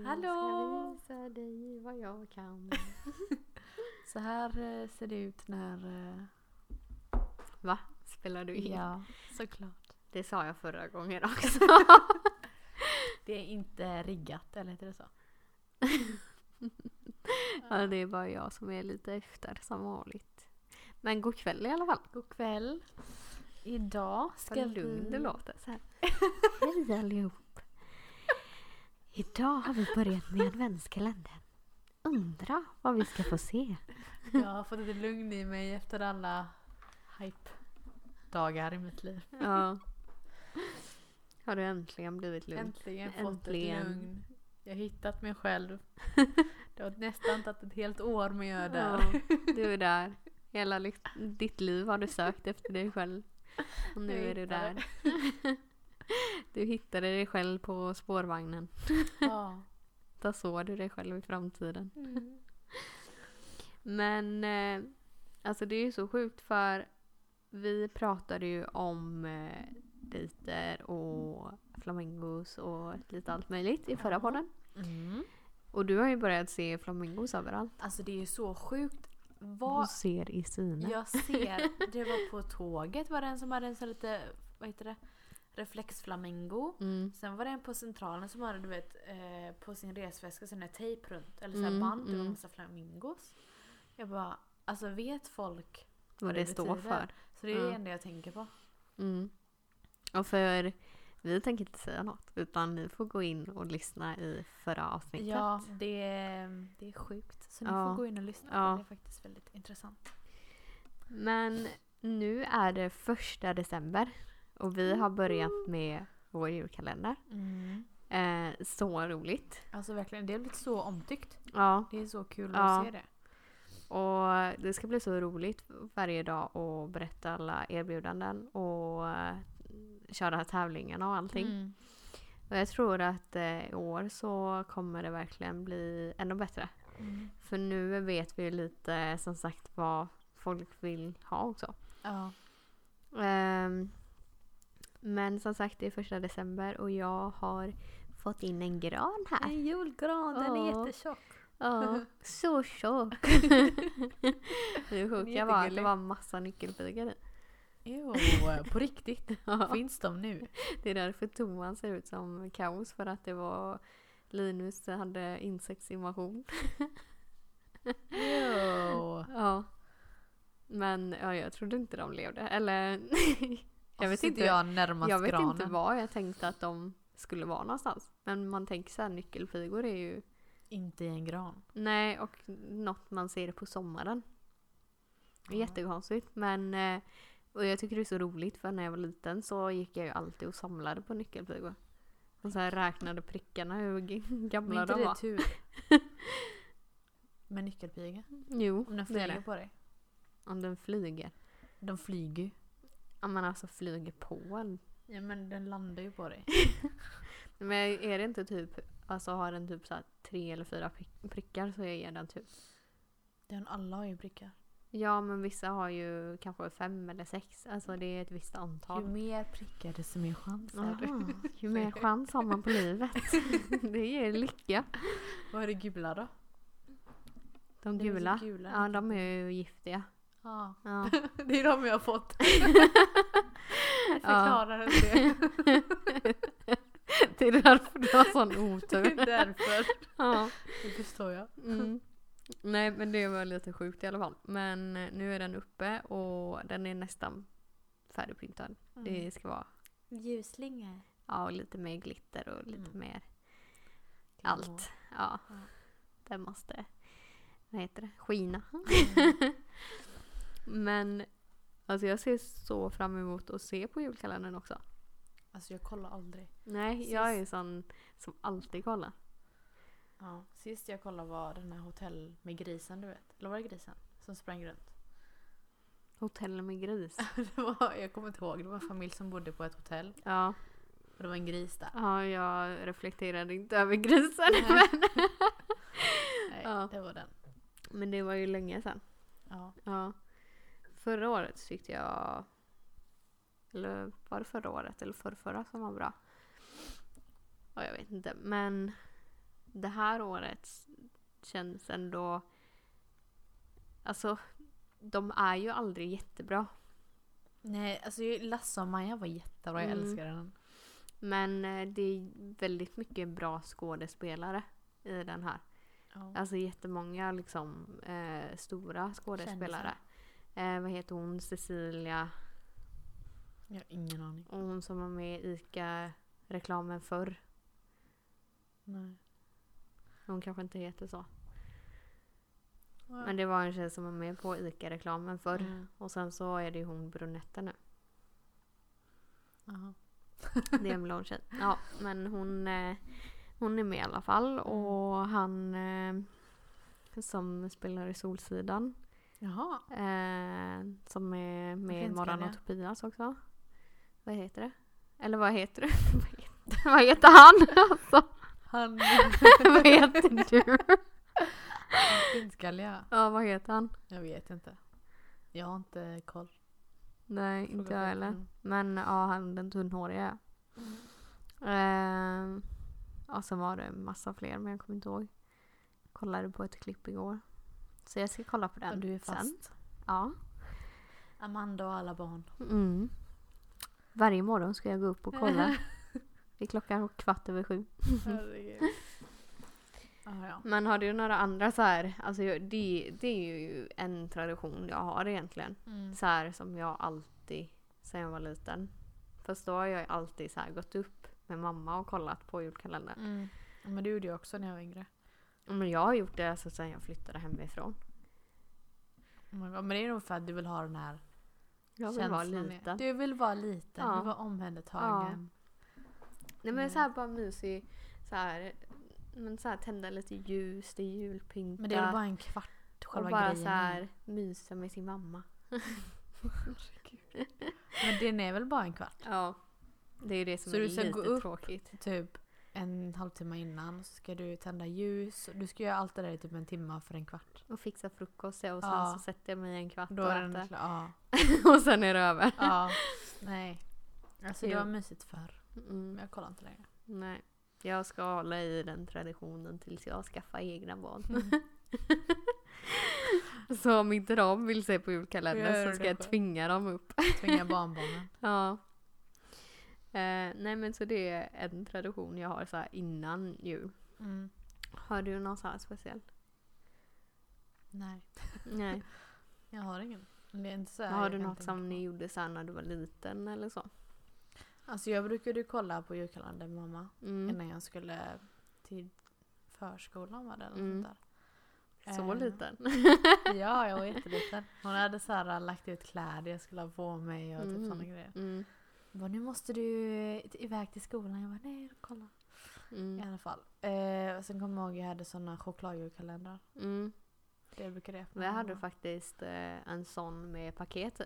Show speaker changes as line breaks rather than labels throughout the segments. ska
Hejdå!
visa dig vad jag kan.
Så här eh, ser det ut när... eh,
Va? Spelar du in?
Ja, såklart.
Det sa jag förra gången också.
Det är inte riggat, eller heter det så?
ja, det är bara jag som är lite efter som vanligt. Men god kväll i alla fall.
God kväll. Idag ska
Vad
vi...
lugn det låter. Så här. Hej allihop! Idag har vi börjat med adventskalendern. Undra vad vi ska få se.
Jag har fått lite lugn i mig efter alla hype-dagar i mitt liv.
Ja. Har du äntligen blivit lugn?
Äntligen fått
Äntligen.
ett lugn. Jag har hittat mig själv. Det har nästan tagit ett helt år men jag är där.
Ja, du är där. Hela li- ditt liv har du sökt efter dig själv. Och nu
Jag
är du
hittade.
där. Du hittade dig själv på spårvagnen.
Ja.
Där såg du dig själv i framtiden.
Mm.
Men eh, alltså det är ju så sjukt för vi pratade ju om eh, dejter och flamingos och lite allt möjligt i förra podden.
Mm.
Och du har ju börjat se flamingos överallt.
Alltså det är ju så sjukt.
Du
Vad
ser i synen.
Jag ser, det var på tåget var det en som hade en sån lite, vad heter det, reflexflamingo.
Mm.
Sen var det en på centralen som hade du vet, eh, på sin resväska sån där tejp runt, eller så här
Mm,
band, det var
mm.
en massa flamingos. Jag bara, alltså vet folk?
Vad det står
betyder?
för.
Så det är det
Ja.
enda jag tänker på.
Mm. Och för vi tänker inte säga något utan ni får gå in och lyssna i förra avsnittet.
Ja, det, är- det är sjukt. Så ni
Ja.
får gå in och lyssna
Ja.
på det, det är faktiskt väldigt intressant.
Men nu är det första december och vi har börjat med vår julkalender.
Mm.
Eh, så roligt.
Alltså verkligen, det har blivit så omtyckt.
Ja,
Det är så kul
Ja.
att se det.
och det ska bli så roligt varje dag att berätta alla erbjudanden och eh, köra tävlingarna och allting.
Mm.
Och jag tror att eh, i år så kommer det verkligen bli ännu bättre.
Mm.
För nu vet vi ju lite som sagt vad folk vill ha också.
Ja.
Ehm, men som sagt det är första december och jag har fått in en gran här.
En julgran, den är
Ja.
jättetjock.
Ja, så tjock! Hur sjuk jag var att det
Jättegullig.
var massa nyckelpigor i.
Jo, på riktigt. Finns de nu?
Det är därför toan ser ut som kaos för att det var Linus hade insektsinvasion.
Jo.
Ja. Men ja, jag trodde inte de levde. Eller
Jag vet inte Alltså, jag närmast
Jag vet
granen.
inte var jag tänkte att de skulle vara någonstans. Men man tänker så här, nyckelpigor är ju...
Inte i en gran.
Nej, och något man ser på sommaren. Det är
Ja.
Jättekonstigt. Men... eh, Och jag tycker det är så roligt för när jag var liten så gick jag ju alltid och samlade på nyckelpigor. Och så här räknade prickarna hur g-
Men
gamla
inte
de
det
var.
tur. Med nyckelpiga.
Jo,
Om den
det är
flyger
det.
på dig.
Om den flyger.
De flyger ju.
Om man alltså flyger på en.
Ja men den landar ju på dig.
Men är det inte typ, alltså har den typ så här tre eller fyra prick- prickar så är den typ
Den alla har ju prickar.
Ja men vissa har ju kanske fem eller sex. Alltså det är ett visst
Ju
antal.
mer prickar desto mer chans har du.
Aha, ju mer chans har man på livet. det ger lycka.
Vad är det gula då?
De
Det är väl så
gula.
gula.
Ja de är ju giftiga.
Ja.
Ja.
Det är de jag har fått.
ja.
Förklarar ja. det.
Det är därför du har sån
Det
otur.
är därför.
Ja.
Det förstår jag.
Mm. Nej men det var lite sjukt i alla fall. Men eh, nu är den uppe och den är nästan färdigpyntad. Det ska vara
Ljusslingor.
ja, och lite mer glitter och lite
Mm.
mer allt. Ja.
Ja.
Den måste, vad heter det, skina. Men alltså jag ser så fram emot att se på julkalendern också.
Alltså jag kollar aldrig.
Nej,
Precis.
jag är sån som alltid kollar.
Ja. Sist jag kollade var den här hotell med grisen du vet. Eller var det grisen? Som sprang runt.
Hotell med gris.
Det var, jag kommer inte ihåg, det var en familj som bodde på ett hotell.
Ja,
Och det var en gris där.
ja jag reflekterade inte över grisen.
Nej.
Men,
Nej,
Ja.
det var den.
men det var ju länge sedan.
Ja.
Ja. Förra året tyckte jag... Eller var det förra året eller förrförra som var bra? Ja, jag vet inte. Men det här året känns ändå... Alltså, de är ju aldrig jättebra.
Nej, alltså Lasse och Maja var jättebra. Jag
Mm.
älskar den.
Men eh, det är väldigt mycket bra skådespelare i den här.
Ja.
Alltså jättemånga liksom eh, stora skådespelare. Eh, vad heter hon? Cecilia.
Jag har ingen aning.
Och hon som var med i ICA-reklamen förr.
Nej.
Hon kanske inte heter så. Men
Men
det var en tjej som var med på ICA-reklamen förr.
Mm.
Och sen så är det ju hon brunetta nu.
Jaha.
Det är en blond tjej. Ja, men hon, eh, hon är med i alla fall. Och han eh, som spelar i Solsidan.
Jaha.
Eh, som är med i
Finska,
Morran
ja.
och Tobias också. Vad heter det? Eller vad heter det? Vad heter- vad heter han? Alltså,
Han
vad heter du?
finskalliga.
Ja, vad heter han?
Jag vet inte. Jag har inte koll.
Nej, inte jag heller.
Mm.
Men ja, han den tunnhåriga. Eh, och sen var det en massa fler, men jag kommer inte ihåg. Kollade på ett klipp igår. Så jag ska kolla på den
Och du är
sen.
fast.
Ja.
Amanda och alla barn.
Mm. Varje morgon ska jag gå upp och kolla. Det är klockan kvart över sju.
Herregud. Ah, ja.
Men har du några andra så här, alltså jag, det, det är ju en tradition jag har egentligen.
Mm.
Så här som jag alltid, sen jag var liten. Fast då har jag alltid så här gått upp med mamma och kollat på julkalendern.
Mm. Men det gjorde jag också när jag var yngre.
Ja, Men jag har gjort det alltså sen jag flyttade hemifrån.
Oh my God. Men det är nog för att du vill ha den här
Jag vill vara
känslan med-
liten.
Du vill vara liten.
Ja.
Du vill vara omhändertagen.
Nej men så här bara mysig, så här, men så här tända lite ljus, det är julpyntat.
Men det är väl bara en kvart själva
och bara
grejen.
så här mysa med sin mamma.
Men den är väl bara en kvart?
Ja. Det är det som
Så
är
du ska
lite
gå upp?
tråkigt.
Typ en halvtimme innan så ska du tända ljus. Du ska göra allt det där i typ en timme för en kvart.
Och fixa frukost och sen
Ja.
så sätter jag mig en kvart
Då
och
är den
äter.
klar. Ja.
och sen är det över.
ja. Nej. Alltså det
Jo.
var mysigt förr. Men
Mm,
jag kollar inte längre.
nej. Jag ska hålla i den traditionen tills jag skaffar egna barn.
Mm.
så om inte de vill se på
Gör
julkalendern
det
så ska jag
själv.
tvinga dem upp.
Tvinga barnbarnen.
Ja. Eh, nej men så det är en tradition jag har så här innan jul.
Mm.
Har du någon så här speciell?
Nej.
Nej.
Jag har ingen. Det är inte så här
har du
jag
något
tänker på.
som ni gjorde så här när du var liten eller så?
Alltså jag brukade ju kolla på julkalendern med mamma.
Mm.
Innan jag skulle till förskolan var det eller
Mm.
sånt
Så
Eh.
liten?
där. Ja, jag var jätteliten. Hon hade så här äh, lagt ut kläder jag skulle ha på mig och typ
Mhm.
sådana grejer.
Mm.
Hon bara, nu måste du eh, iväg till skolan. Jag bara, nej, kolla. I
Mm.
alla fall. Eh, och sen kommer jag ihåg jag hade sådana chokladjulkalendrar.
Mm.
Det brukade jag öppna
Men jag hade
hemma.
faktiskt eh, en sån med paket i.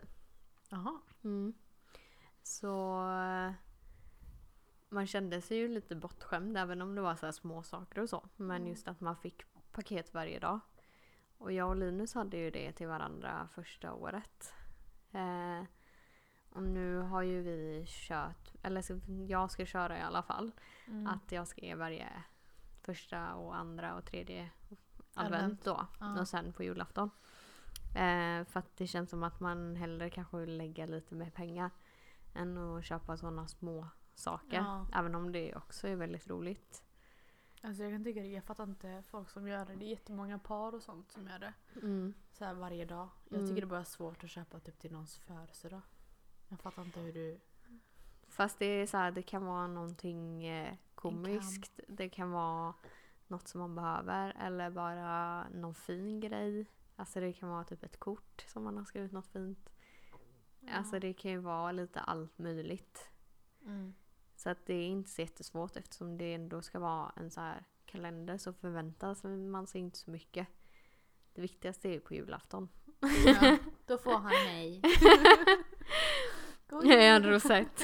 Jaha. Mm.
Så eh, man kände sig ju lite bortskämd även om det var så här små saker och så. Men
Mm.
just att man fick paket varje dag. Och jag och Linus hade ju det till varandra första året. Eh, och nu har ju vi kört, eller så- jag ska köra i alla fall.
Mm.
Att jag ska ge varje första och andra och tredje advent,
Advent.
då.
Ja.
Och sen på julafton. Eh, för att det känns som att man hellre kanske vill lägga lite mer pengar än att köpa sådana små saker.
Ja.
Även om det också är väldigt roligt.
Alltså jag kan tycka det, jag fattar inte folk som gör det. Det är jättemånga par och sånt som gör det.
Mm.
Så här varje dag. Jag
Mm.
tycker det bara är svårt att köpa typ till någons födelsedag. Jag fattar inte hur du...
Fast det är så här, det kan vara någonting eh, komiskt. Det kan vara något som man behöver eller bara någon fin grej. Alltså det kan vara typ ett kort som man har skrivit något fint. Alltså det kan ju vara lite allt möjligt.
Mm.
Så att det är inte så jättesvårt eftersom det ändå ska vara en så här kalender så förväntas man sig inte så mycket. Det viktigaste är ju på julafton.
Ja, då får han mig. God
Jag är en
jul.
rosett.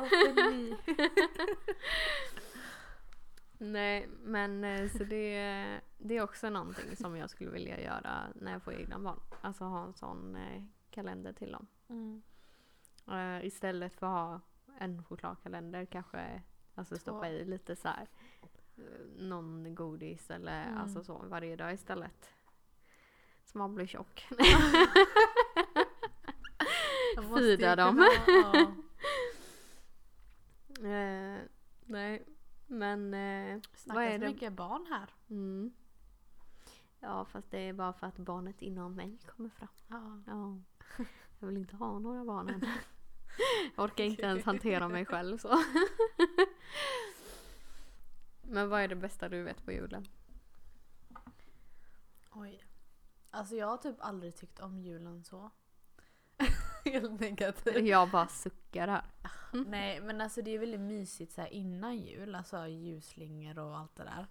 Varför ni?
Nej men eh, så det, det är också någonting som jag skulle vilja göra när jag får egna barn. Alltså ha en sån eh, kalender till dem.
Mm.
Eh, istället för att ha en chokladkalender kanske alltså
Två.
stoppa i lite så här eh, någon godis eller
Mm.
alltså så varje dag istället. Så man blir tjock.
Jag måste ju
Fida dem.
kunna- ja.
Eh, nej, men... Eh, Vad är
Snackas
det?
mycket barn här.
mm. Ja, fast det är bara för att barnet inom mig kommer fram.
Ja.
Ja. Jag vill inte ha några barn än. Jag orkar inte ens hantera mig själv så. Men vad är det bästa du vet på julen?
Oj. Alltså jag har typ aldrig tyckt om julen så. Helt negativt.
Jag bara suckar här.
Nej men alltså det är väldigt mysigt så här innan jul. Alltså ljusslingor och allt det där.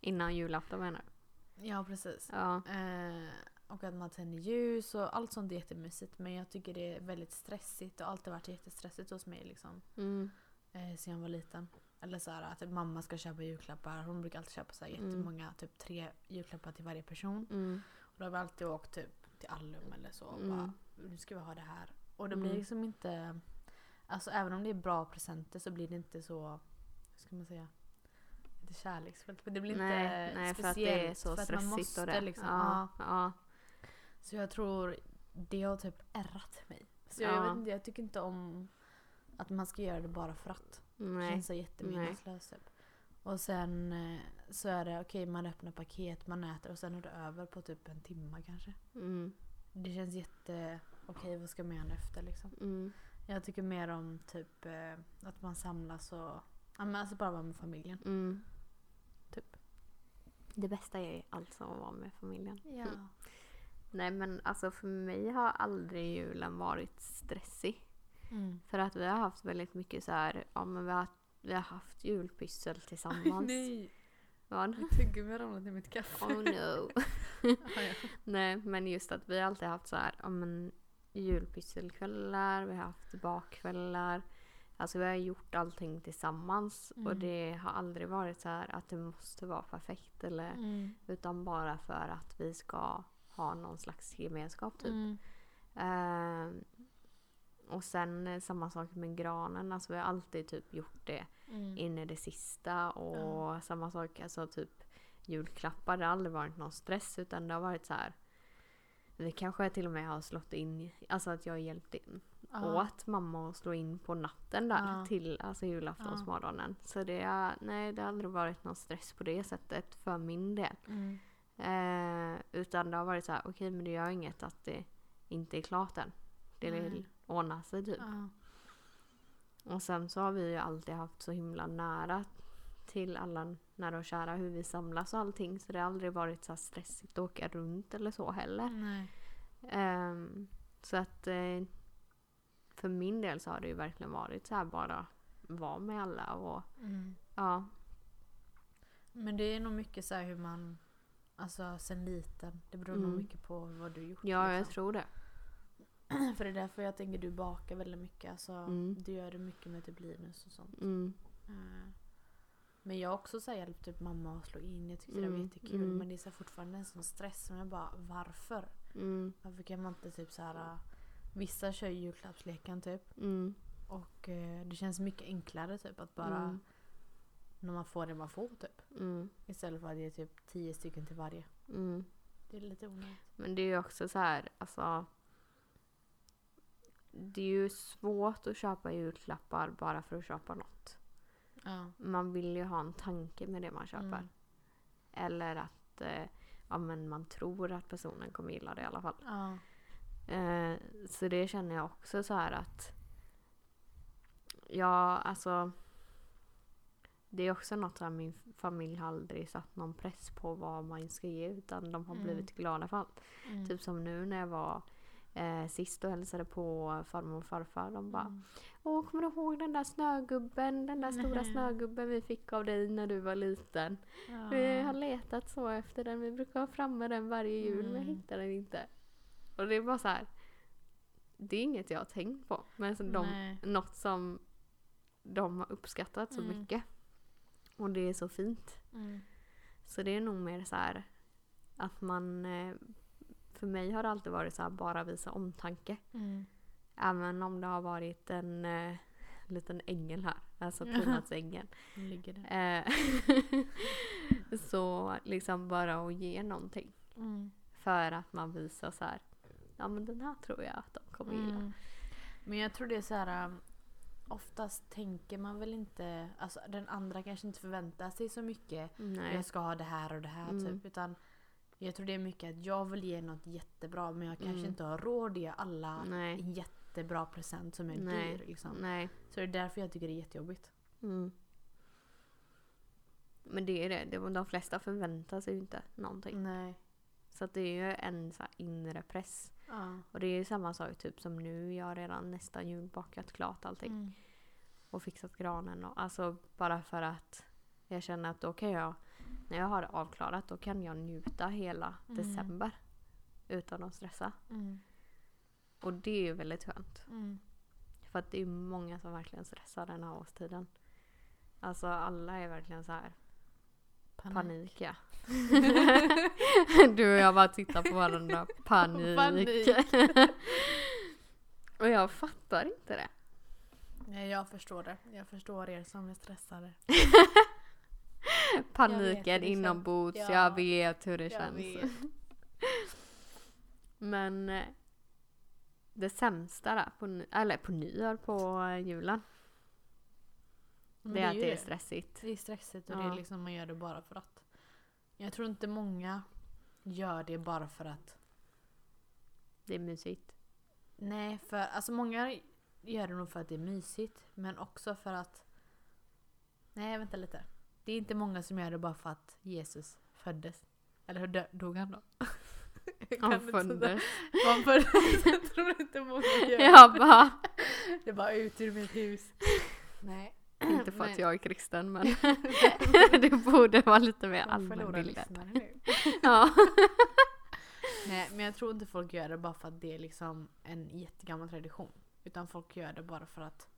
Innan julafton menar du?
Ja precis.
Ja.
Eh, och att man tänder ljus och allt sånt är jättemysigt. Men jag tycker det är väldigt stressigt och alltid varit jättestressigt hos mig liksom.
Mm.
Eh, sen jag var liten. Eller så här att mamma ska köpa julklappar. Hon brukar alltid köpa så här
Mm.
jättemånga, typ tre julklappar till varje person.
Mm.
Och då har vi alltid åkt typ till Allum eller så och
Mm.
bara nu ska vi ha det här. Och det
Mm.
blir liksom inte, alltså även om det är bra presenter så blir det inte så, hur ska man säga, inte kärleksfullt. Men det blir
Nej,
inte
nej
speciellt.
för att det är så
för att man
stressigt
måste
och det.
Liksom,
ja,
ja.
ja.
Så jag tror det har typ ärrat mig. Så
Ja.
jag, vet inte, jag tycker inte om att man ska göra det bara för att. Det
Nej.
känns så jättemeningslöst typ. Och sen eh, så är det okej man öppnar paket, man äter och sen är det över på typ en timme kanske.
Mm.
Det känns jätte... Okej, vad ska man göra efter liksom?
Mm.
Jag tycker mer om typ eh, att man samlas och... Ja, men alltså bara vara med familjen.
Mm.
Typ.
Det bästa är alltså att vara med familjen.
Ja.
Nej men alltså för mig har aldrig julen varit stressig.
Mm.
För att vi har haft väldigt mycket så här, ja men vi har, vi har haft julpyssel tillsammans. Vad?
Mitt tuggummi ramlade i mitt kaffe.
Oh no.
Ja, ja.
Nej men just att vi alltid har haft så här, ja men julpysselkvällar, vi har haft bakkvällar. Alltså vi har gjort allting tillsammans och
Mm.
det har aldrig varit så här att det måste vara perfekt eller
Mm.
utan bara för att vi ska ha någon slags gemenskap typ.
Mm.
Ehm, och sen eh, samma sak med granen, alltså vi har alltid typ gjort det
Mm.
in i det sista och samma sak, alltså typ julklappar, det har aldrig varit någon stress utan det har varit så här. Vi kanske till och med har slått in, alltså att jag har hjälpt in,
Ja.
åt mamma att slå in på natten där
Ja.
till alltså julaftonsmorgonen. Så det, har- nej, det har aldrig varit någon stress på det sättet för min del.
Mm.
Eh, utan det har varit så här, okej men det gör inget att det inte är klart än. Det
Nej.
ordnar sig typ.
Ja.
Och sen så har vi ju alltid haft så himla nära till alla nära och kära hur vi samlas och allting. Så det har aldrig varit så här stressigt att åka runt eller så heller.
Nej.
Ehm, så att eh, för min del så har det ju verkligen varit så här bara vara med alla och
Mm.
ja.
Men det är nog mycket så här hur man... Alltså sen liten. Det beror
Mm.
nog mycket på vad du gjort.
Ja, jag
liksom.
tror det.
För det är därför jag tänker du bakar väldigt mycket. Alltså,
Mm.
Du gör det mycket med typ Linus och sånt.
Mm,
Eh, Men jag har också så här, hjälpt typ mamma att slå in. Jag tyckte det var
Mm,
jättekul.
mm.
Men det är så här, fortfarande en sån stress. Men jag bara varför?
mm,
Varför kan man inte typ så här. eh, Vissa kör ju julklappsleken typ.
mm,
Och eh, det känns mycket enklare typ att bara
Mm.
när man får det man får typ.
mm,
Istället för att det är typ tio stycken till varje.
mm.
Det är lite onödigt.
Men det är ju också så här, alltså. Det är ju svårt att köpa julklappar bara för att köpa något.
Ja.
man vill ju ha en tanke med det man köper.
Mm.
Eller att eh, ja, men man tror att personen kommer gilla det i alla fall.
Ja.
Eh, så det känner jag också så här att... Ja, alltså... Det är också något där min familj har aldrig satt någon press på vad man ska ge utan de har
Mm.
blivit glada för allt.
Mm.
Typ som nu när jag var eh, sist och hälsade på farmor och farfar. De bara
Mm.
Åh, kommer du ihåg den där snögubben? Den där stora
Nej.
snögubben vi fick av dig när du var liten.
Mm. Ja.
Vi har letat så efter den. Vi brukar ha framme den varje jul men
Mm.
jag hittar den inte. Och det är bara så här. Det är inget jag har tänkt på. Men så de,
Nej.
något som de har uppskattat så
Mm.
mycket. Och det är så fint.
Mm.
Så det är nog mer så här att man... eh, För mig har det alltid varit så här bara visa omtanke.
Mm.
Även om det har varit en eh, liten ängel här. Alltså
Ja.
prydnadsängel.
Nu Ligger det.
Eh, Så liksom bara att ge någonting.
Mm.
För att man visar så här. Ja men den här tror jag att de kommer gilla.
Mm. Men jag tror det är så här. um, Oftast tänker man väl inte, alltså den andra kanske inte förväntar sig så mycket.
Nej.
Jag ska ha det här och det här
Mm.
typ. Utan jag tror det är mycket att jag vill ge något jättebra men jag kanske
Mm.
inte har råd att ge alla
Nej.
en jättebra present som är
Nej.
dyr. Liksom.
Nej.
Så det är därför jag tycker det är jättejobbigt.
Mm. Men det är det. det. De flesta förväntar sig ju inte någonting.
Nej.
Så att det är ju en så här inre press.
Ja.
Och det är ju samma sak typ som nu. Jag har redan nästan julbakat klart allting.
Mm.
Och fixat granen. Och, alltså bara för att jag känner att då kan jag, när jag har det avklarat, då kan jag njuta hela
Mm.
december. Utan att stressa.
Mm.
Och det är ju väldigt skönt.
Mm.
För att det är många som verkligen stressar den här årstiden. Alltså alla är verkligen så här
Panik.
panik ja. du och jag bara tittar på varandra. Panik.
Panik.
och jag fattar inte det.
Nej, jag förstår det. Jag förstår er som är stressade. Jag vet hur
Paniken
det
inombords.
känns. Ja.
Jag vet hur det
Jag
känns.
vet.
Men eh, det sämsta där, på, ny- eller på nyår, på eh, julen,
Men
Mm. det är att
ju
det är stressigt.
Det är stressigt och
Ja.
det är liksom man gör det bara för att. Jag tror inte många gör det bara för att.
Det är mysigt.
Nej, för alltså många gör det nog för att det är mysigt. Men också för att. Nej, vänta lite. Det är inte många som gör det bara för att Jesus föddes. Eller hur dö- dog han då? Jag kan
Han
inte sådär.
föddes.
Han föddes. Jag tror inte många gör det.
Jag bara,
Det är bara ut ur mitt hus. Nej.
inte för att
Men-
jag är kristen men det borde vara lite mer
Jag förlorar
allmänbildad.
lyssnare nu.
Ja.
Nej, men jag tror inte folk gör det bara för att det är liksom en jättegammal tradition. Utan folk gör det bara för att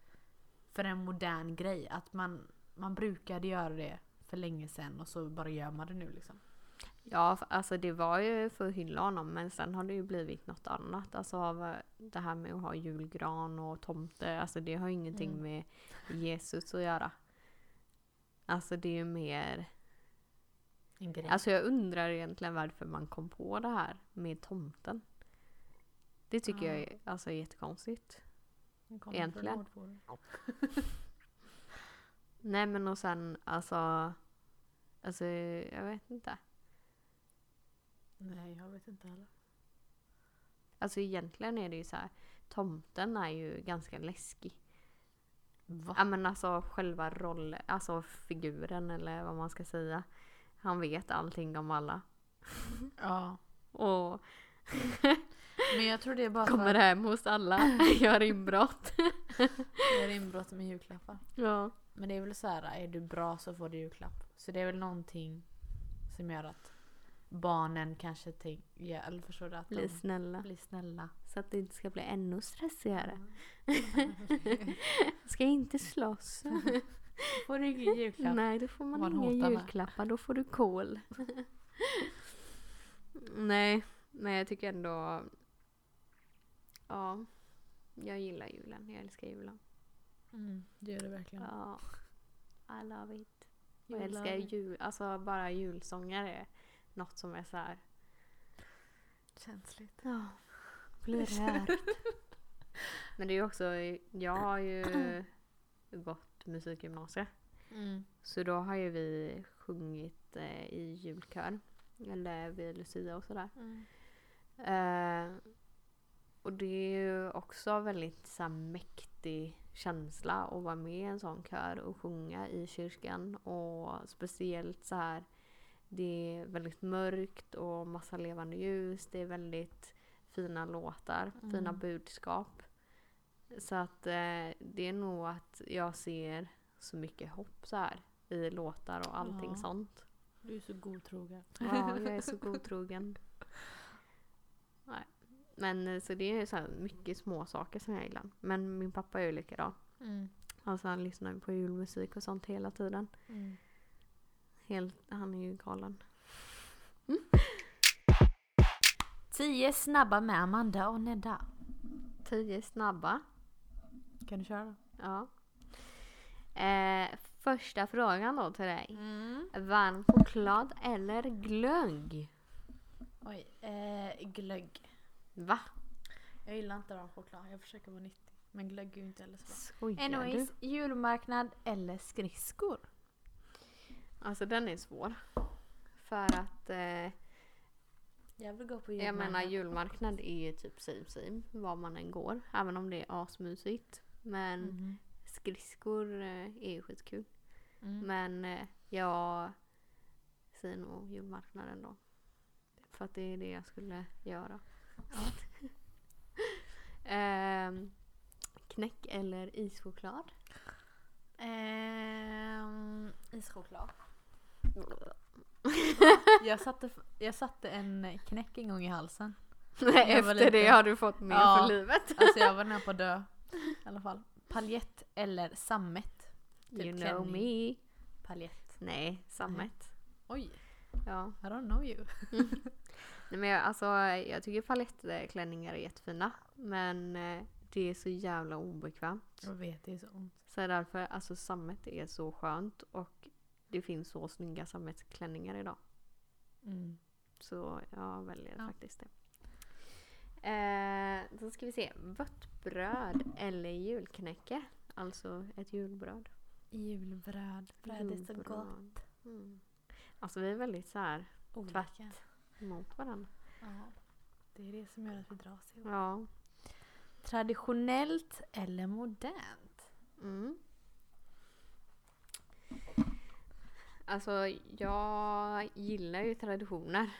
för en modern grej. Att man, man brukade göra det för länge sedan och så bara gör man det nu liksom.
Ja, f- alltså det var ju för att hylla honom men sen har det ju blivit något annat. Alltså av eh, det här med att ha julgran och tomte, alltså det har ju ingenting
Mm.
med Jesus att göra. Alltså det är ju mer,
En grej.
alltså jag undrar egentligen varför man kom på det här med tomten. Det tycker
Ja.
jag är, alltså, är jättekonstigt.
Den kommer
egentligen.
från Nordpolen.
Nej men och sen alltså, alltså jag vet inte.
Nej, jag vet inte heller.
Alltså egentligen är det ju så här. Tomten är ju ganska läskig.
Va?
Ja men alltså själva rollen, alltså figuren eller vad man ska säga. Han vet allting om alla.
Ja.
Och
Men jag tror det är bara
kommer
för att
hem hos alla, gör inbrott.
jag gör inbrott med julklappar.
Ja.
Men det är väl så här, är du bra så får du julklapp. Så det är väl någonting som gör att barnen kanske tänker, ja, eller förstår du, att
Bli
de
snälla.
blir snälla. Mm.
Så att det inte ska bli ännu stressigare. Ska inte slåss.
Får du ingen julklapp?
Nej, då får man,
Man
inga
hotar med.
julklappar. Då får du kol. Nej, men jag tycker ändå... Ja, jag gillar julen. Jag älskar julen.
Mm, det gör det verkligen.
Ja. I love it. Och
Jular.
jag älskar jul. Alltså bara julsånger är något som är så här...
Känsligt.
Ja, blir rörd. Men det är ju också... Jag har ju gått musikgymnasium.
Mm.
Så då har ju vi sjungit eh, i julkör. Eller vid Lucia och sådär.
Mm.
Eh, och det är ju också väldigt så här, mäktig känsla att vara med i en sån kör och sjunga i kyrkan. Och speciellt så här, det är väldigt mörkt och massa levande ljus. Det är väldigt fina låtar, fina
Mm.
budskap. Så att eh, det är nog att jag ser så mycket hopp så här i låtar och allting
Ja.
sånt.
Du är så godtrogen.
Ja, jag är så godtrogen. Nej. Men eh, så det är så här mycket små saker som jag gillar. Men min pappa är ju likadan.
Mm.
Alltså han lyssnar ju på julmusik och sånt hela tiden.
Mm.
Helt, han är ju galen.
Tio snabba med Amanda och Nedda.
Tio snabba.
Kan du köra?
Ja. Eh, Första frågan då till dig.
Mm.
Varm choklad eller glögg?
Oj, eh, glögg.
Va?
Jag gillar inte varm choklad, jag försöker vara nyttig. Men glögg är ju inte heller så bra.
Skojar
Anyways,
du?
julmarknad eller skridskor?
Alltså den är svår. För att eh,
Jag vill gå på
jag menar julmarknad är ju typ same same var man än går. Även om det är asmysigt. Men
Mm.
skridskor eh, är ju skitkul.
Mm.
Men eh, jag säger nog julmarknaden då. För att det är det jag skulle göra. Ehm, knäck eller ischoklad?
Ehm, ischoklad. Jag satte, jag satte en knäck en gång i halsen. Jag var
Efter det
lite-
har du fått mer
Ja.
för livet.
Alltså jag var nära på att dö. I alla fall. Paljett eller sammet? Typ
you know me.
Paljett.
Nej, sammet.
Oj,
Ja.
I don't know you.
Nej, men jag, alltså, jag tycker palettklänningar är jättefina. Men eh, det är så jävla obekvämt.
Jag vet, det är så ont.
Så därför, alltså sammet är så skönt och det finns så snygga sammetsklänningar idag.
Mm.
Så jag väljer
Ja.
faktiskt det. Eh, då ska vi se. Vött bröd eller julknäcke? Alltså ett julbröd.
Julbröd. Bröd är så gott.
Julbröd. Mm. Alltså vi är väldigt så här
Olika.
mot varandra.
Ja. Det är det som gör att vi dras ihop.
Ja.
Traditionellt eller modernt?
Mm. Alltså jag gillar ju traditioner.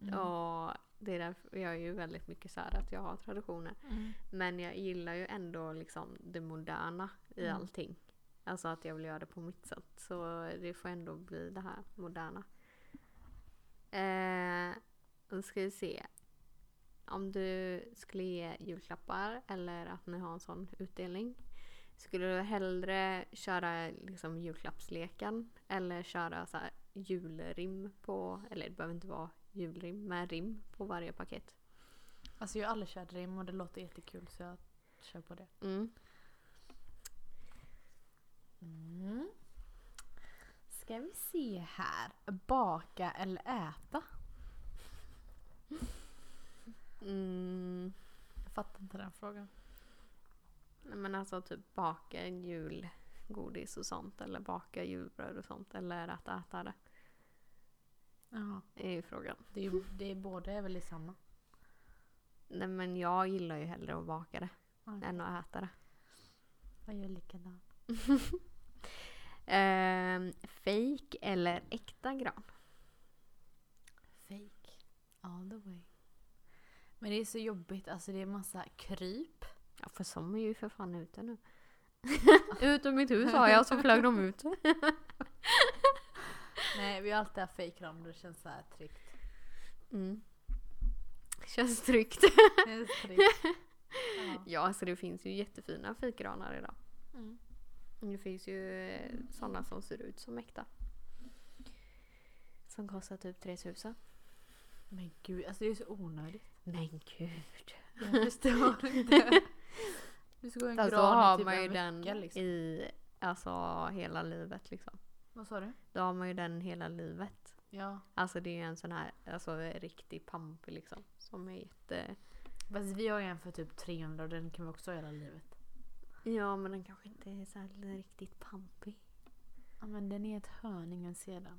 Och det är därför jag är ju väldigt mycket så här att jag har traditioner.
Mm.
Men jag gillar ju ändå liksom det moderna i
Mm.
allting. Alltså att jag vill göra det på mitt sätt. Så det får ändå bli det här moderna. Eh, då ska vi se. Om du skulle ge julklappar eller att ni har en sån utdelning. Skulle du hellre köra liksom julklappsleken eller köra så här julrim på, eller det behöver inte vara julrim, men rim på varje paket?
Alltså jag har aldrig kört rim och det låter jättekul så jag kör på det.
Mm.
Mm. Ska vi se här. Baka eller äta?
Mm.
Jag fattar inte den frågan.
Nej, men alltså typ baka julgodis och sånt eller baka julbröd och sånt eller att äta det
Ja.
är ju frågan.
Det är, ju- det är båda är väl i samma.
Nej men jag gillar ju hellre att baka det
Ja.
än att äta det.
Jag gör likadant.
Ehm, fake eller äkta gran?
Fake. All the way. Men det är så jobbigt. Alltså det är massa kryp.
Ja för som är ju för fan ute nu. ut ur mitt hus sa jag så flög de ut.
Nej vi har alltid haft fejkram och det känns så här tryggt.
Mm. Känns tryggt.
Det känns tryggt. Ja.
Ja alltså det finns ju jättefina fikgranar idag.
Mm.
Det finns ju sådana som ser ut som äkta. Som kostar typ 3000.
Men gud, alltså det är så onödigt.
Men gud.
Jag förstår inte. Du ska gå en
Alltså
gran i
har
typ
man ju
en vecka
den
liksom.
i alltså hela livet liksom.
Vad sa du?
Då har man ju den hela livet.
Ja.
Alltså det är ju en sån här alltså, riktig pamp liksom. Som är jätte...
Fast vi har ju en för typ 300 och den kan vi också ha hela livet.
Ja men den kanske inte är så här riktigt pampig.
Ja men den är ett hörn, ingen ser den.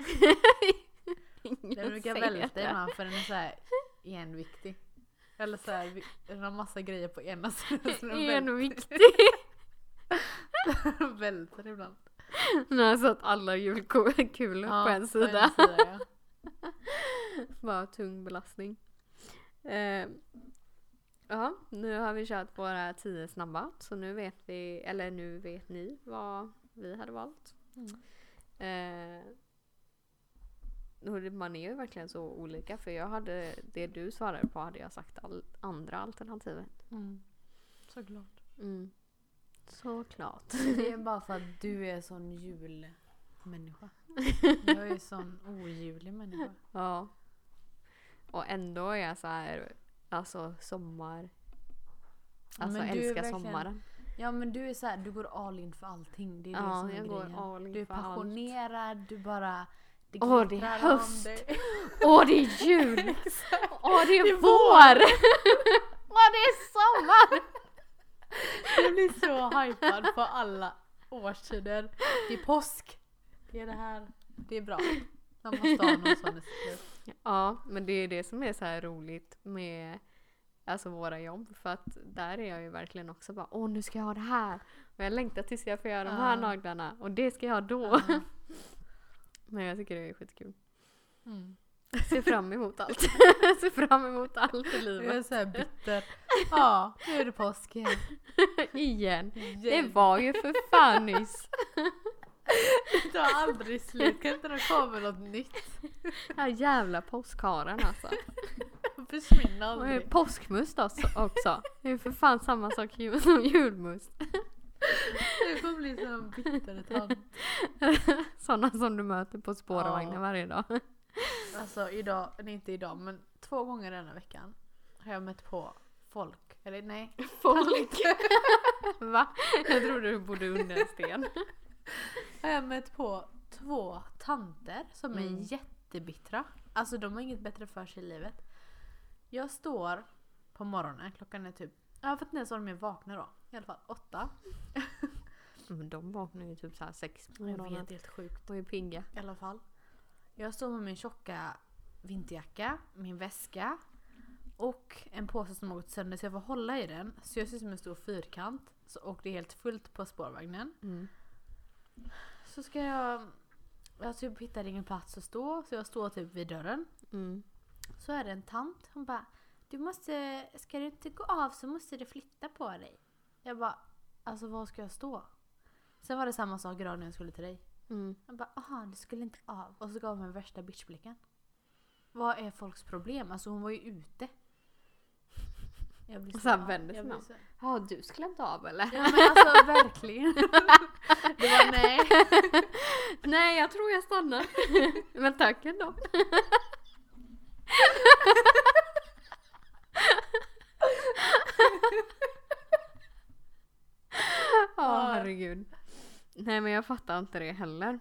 Ingen
Den brukar
säger
välta
det.
ibland för den är såhär enviktig. Eller såhär, vi- den har massa grejer på ena sidan så den väl-
Enviktig.
den välter ibland.
Nu har jag satt alla julkulor på en sida.
ja.
Bara tung belastning. Eh, Ja, nu har vi kört våra tio snabba. Så nu vet vi, eller nu vet ni vad vi hade valt.
Mm.
Eh, och det- man är ju verkligen så olika för jag hade, det du svarade på hade jag sagt all, andra alternativet.
Mm. Såklart.
Mm. Såklart.
Det är bara för att du är sån julmänniska. Jag är sån ojulig människa.
Ja. Och ändå är jag så här, alltså sommar,
Ja,
alltså
men du är
älskar
Alltså, verkligen-
sommaren.
Ja men du är så här, du går all in för allting. Det är det som
Ja,
är
jag
grejen.
går all in
Du är
för allt.
passionerad, du bara... Det
Åh, det är
glittrar om
höst.
dig.
Åh det är jul!
Exakt.
Åh det
Det
är
är
vår! Åh det är sommar!
Jag blir så hypad på alla årstider. Det är påsk. Det är det här. Det är bra. Man måste ha någon sån escape.
Ja men det är det som är så här roligt med alltså våra jobb för att där är jag ju verkligen också bara åh nu ska jag ha det här och jag längtar tills jag får göra de här
Ja.
naglarna och det ska jag ha då.
Ja.
Men jag tycker det är skitkul.
Mm.
Ser fram emot allt. Ser fram emot allt i
Jag är
livet.
så här bitter. Ja, nu är det påsk igen.
Igen. Det
Det
var ju för fan nyss.
tar aldrig slut. Kan inte det komma något nytt?
Den här jävla påskharen alltså.
Och försvinna
Och eh,
aldrig.
påskmust också- också. Det är ju för fan samma sak ju- som julmust.
Du kommer bli som en bitter tant.
Sådana som du möter på spårvagnen
Ja.
varje dag.
Alltså idag, nej inte idag men två gånger denna veckan har jag mött på folk. Eller nej. Folk.
Va? Jag trodde du bodde under en sten.
har jag mött på två tanter som är
Mm.
jättebittra. Alltså de har inget bättre för sig i livet. Jag står på morgonen, klockan är typ, jag vet inte ens om de är vakna då. I alla fall åtta.
Men de vaknar ju typ såhär sex på
Jag
morgonen.
vet, helt sjukt.
Och är pigga.
I alla fall. Jag står med min tjocka vinterjacka, min väska och en påse som har gått sönder så jag får hålla i den. Så jag ser ut som en stor fyrkant. Så, och det är helt fullt på spårvagnen.
Mm.
Så ska jag... Jag typ hittar ingen plats att stå så jag står typ vid dörren.
Mm.
Så är det en tant, hon bara Du måste, ska du inte gå av så måste du flytta på dig. Jag bara, alltså var ska jag stå? Sen var det samma sak idag när jag skulle till dig.
Mm.
Jag bara, aha du skulle inte av. Och så gav hon mig värsta bitchblicken. Vad är folks problem? Alltså hon var ju ute. Jag blir
Och sen vände
jag
sig
blir
om.
så-
Ja, du skulle inte av eller?
Ja men alltså verkligen. Det var nej.
Nej, jag tror jag stannar. Men tack ändå. Ja, herregud. Nej, men jag fattar inte det heller.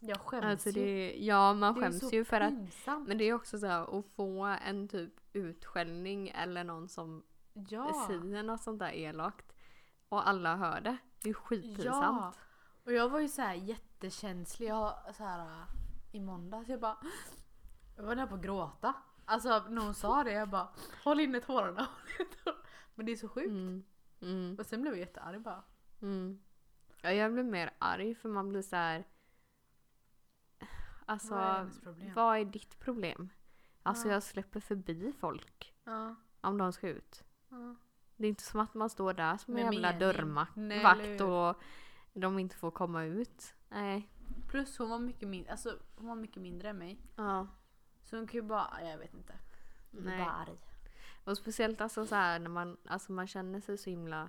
Jag skäms
Alltså
ju.
det, ja, man
Det är
skäms
så
ju för att...
pinsamt.
Men det är också så här att få en typ utskällning eller någon som
ja.
säger något sånt där elakt och alla hör det. Det är skitpinsamt.
Och jag var ju så här jättekänslig jag, så här, äh, i måndags. Jag bara... Jag var nära på att gråta. Alltså när hon sa det jag bara håll inne tårarna. håll inne tårarna." Men det är så sjukt.
Mm. Mm.
Och sen blev jag jättearg bara.
Mm. Ja, jag blir mer arg för man blir så här. Alltså,
Vad är hennes problem?
vad är ditt problem? Alltså
Ja.
jag släpper förbi folk
Ja,
om de ska ut.
ja.
Det är inte som att man står där som en
Med
jävla
mening. Nej, eller
dörrvakt
hur?
och de inte får komma ut. Nej.
Plus hon var, mycket min- alltså, hon var mycket mindre än mig.
Ja.
Så hon kan ju bara, jag vet inte. Jag blir
Nej.
bara arg.
Och speciellt alltså så här när man, alltså man känner sig så himla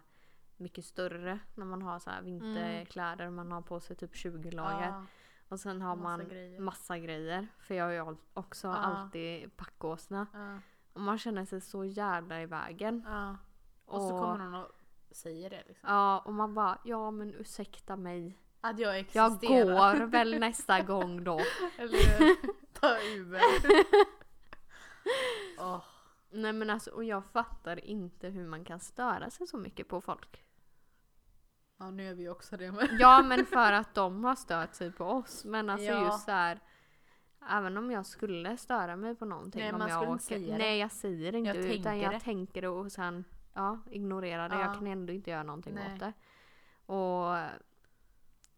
mycket större när man har så här vinterkläder och man har på sig typ 20 lager.
Ja,
Och sen har
Massa
man
grejer.
massa grejer. För jag har ju al- också
Ja.
alltid packåsna.
ja,
Och man känner sig så jävla i vägen.
ja. Och så kommer någon och säger det liksom.
Ja, och man bara ja men ursäkta mig.
Att jag
Jag
existerar.
går väl nästa gång då.
Eller ta Uber. Åh,
Nej men alltså och jag fattar inte hur man kan störa sig så mycket på folk.
Ja nu är vi också det men.
Ja men för att de har stört sig på oss. Men alltså
Ja.
just så här. Även om jag skulle störa mig på någonting.
Nej,
om
man
jag
skulle inte säga det.
Nej jag säger inte.
Jag
utan
tänker
jag
det.
tänker det och sen ja, ignorerar det.
Ja.
Jag kan ändå inte göra någonting
Nej.
åt det. Och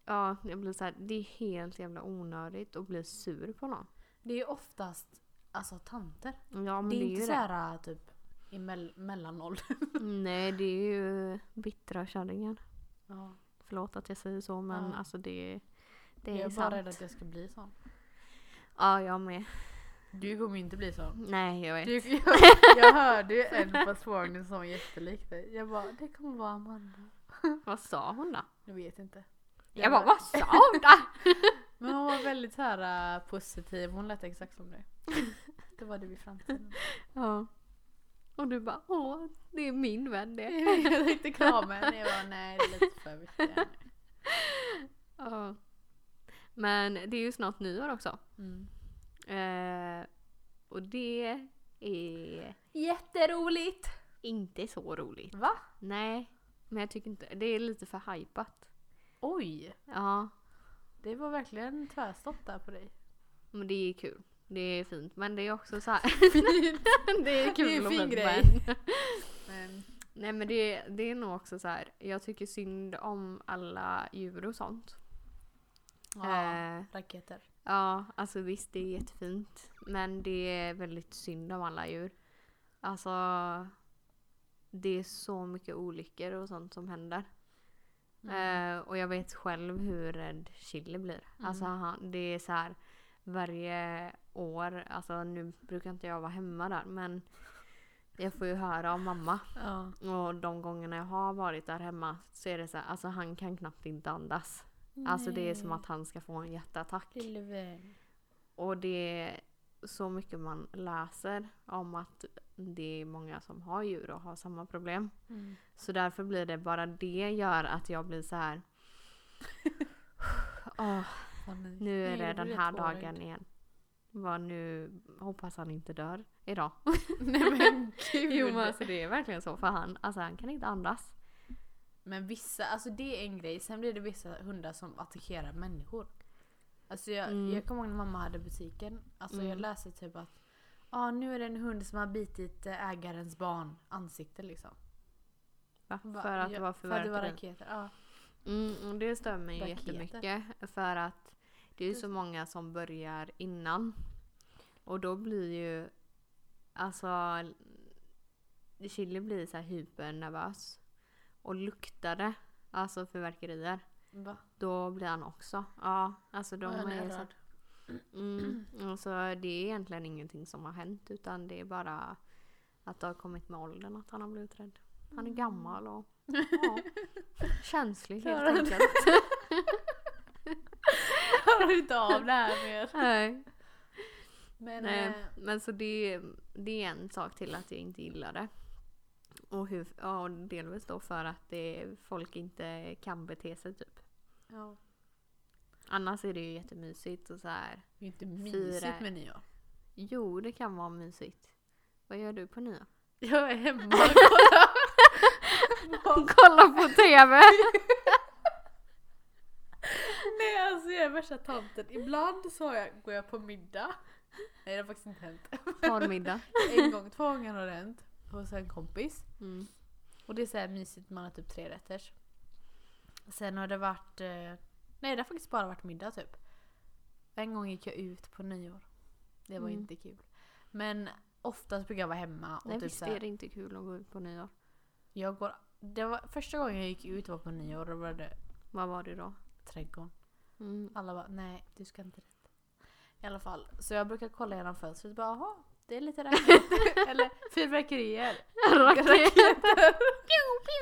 ja, jag blir så här, det är helt jävla onödigt att bli sur på någon.
Det är ju oftast alltså tanter.
Ja men
det är
ju
inte
det.
såhär typ i mell- mellanåldern.
Nej det är ju bittra kärringar.
Ja.
Förlåt att jag säger så men
Ja.
alltså det, det
Jag
är,
är bara
sant.
rädd att jag ska bli sån.
Ja jag med.
Du kommer ju inte bli sån.
Nej jag vet.
Du, jag, jag hörde ju en på spårvagnen som var jättelik dig. Jag bara det kommer vara Amanda.
Vad sa hon då?
Jag vet inte.
Jag bara vad sa hon då?
Men hon var väldigt såhär äh, positiv. Hon lät exakt som dig. Det var du i framtiden.
ja. Och du bara åh, det är min vän det.
Jag tänkte krama henne, jag bara nej det är lite för mycket. här nu.
Ja. Men det är ju snart nyår också.
Mm.
Eh, och det är
Jätteroligt!
inte så roligt.
Va?
Nej, men jag tycker inte, det är lite för hypat.
Oj!
Ja,
Det var verkligen tvärstopp där på dig.
men det är kul. Det är fint, men det är också så här. det är kul
Det är en
och
fin
fint,
grej.
men-
Men,
Nej men det, det är nog också så här. jag tycker synd om alla djur och sånt.
ja,
Eh,
raketer.
ja, alltså visst det är jättefint. Men det är väldigt synd om alla djur. Alltså, det är så mycket olyckor och sånt som händer.
Mm.
Eh, och jag vet själv hur rädd Chili blir. Alltså han, det är så här varje år, alltså nu brukar inte jag vara hemma där men jag får ju höra av mamma
Ja.
och de gångerna jag har varit där hemma så är det så här, alltså han kan knappt inte andas. Alltså det är som att han ska få en hjärtattack.
Lille vän.
Och det är så mycket man läser om att det är många som har djur och har samma problem.
Mm.
Så därför blir det bara det gör att jag blir så här. "Åh,
Åh, nej.
nu är
Nej,
det
jag
den
blir
här
jätteorörd.
dagen igen. Vad nu, hoppas han inte dör idag.
Nej men gud.
Jo men alltså det är verkligen så för han, alltså han kan inte andas.
Men vissa, alltså det är en grej. Sen blir det vissa hundar som attackerar människor. Alltså jag,
Mm.
jag kommer ihåg när mamma hade butiken. Alltså jag
Mm.
läste typ att ah, nu är det en hund som har bitit eh, ägarens barn ansikte liksom.
Va?
Va?
För att det
Ja,
var
För att det var
förvärrat.
raketer. Ja.
Mm, och det stör mig ju
Raketer.
jättemycket. För att det är ju
Just
så många som börjar innan. Och då blir ju... Alltså... Chili blir så här hypernervös. Och luktar det, alltså fyrverkerier,
Va?
då blir han också. Ja, alltså de
Ja, han
är så...
rörd.
Mm, och så det är egentligen ingenting som har hänt utan det är bara att det har kommit med åldern att han har blivit rädd. Han är gammal och ja, känslig helt
Klarar han
enkelt.
Klarar inte av det här mer.
Nej.
Men,
Nej,
eh,
men så det, det är en sak till att jag inte gillar det. Och, hur, ja, och delvis då för att det, folk inte kan bete sig typ.
ja.
Annars är det ju jättemysigt och så här.
Det är inte mysigt
Fyra.
med nyår.
Jo, det kan vara mysigt. Vad gör du på nyår?
Jag är hemma och kollar.
Kolla på TV!
Nej alltså jag är värsta tanten. Ibland så har jag, går jag på middag. Nej det har faktiskt inte hänt.
Parmiddag.
En gång, två gånger har det hänt. Hos en kompis.
Mm.
Och det är så här mysigt, man har typ tre rätters. Sen har det varit... eh, Nej det har faktiskt bara varit middag typ. En gång gick jag ut på nyår. Det var
Mm.
inte kul. Men oftast brukar jag vara hemma. Och
Nej,
typ
visst
så
är
här,
det inte kul att gå ut på nyår?
jag går, det var första gången jag gick ut var på nyår och då var det
Vad var det då?
trädgården.
Mm.
Alla bara nej du ska inte dit. I alla fall. Så jag brukar kolla genom fönstret och bara jaha det är lite raketer. Eller fyrverkerier.
Raket!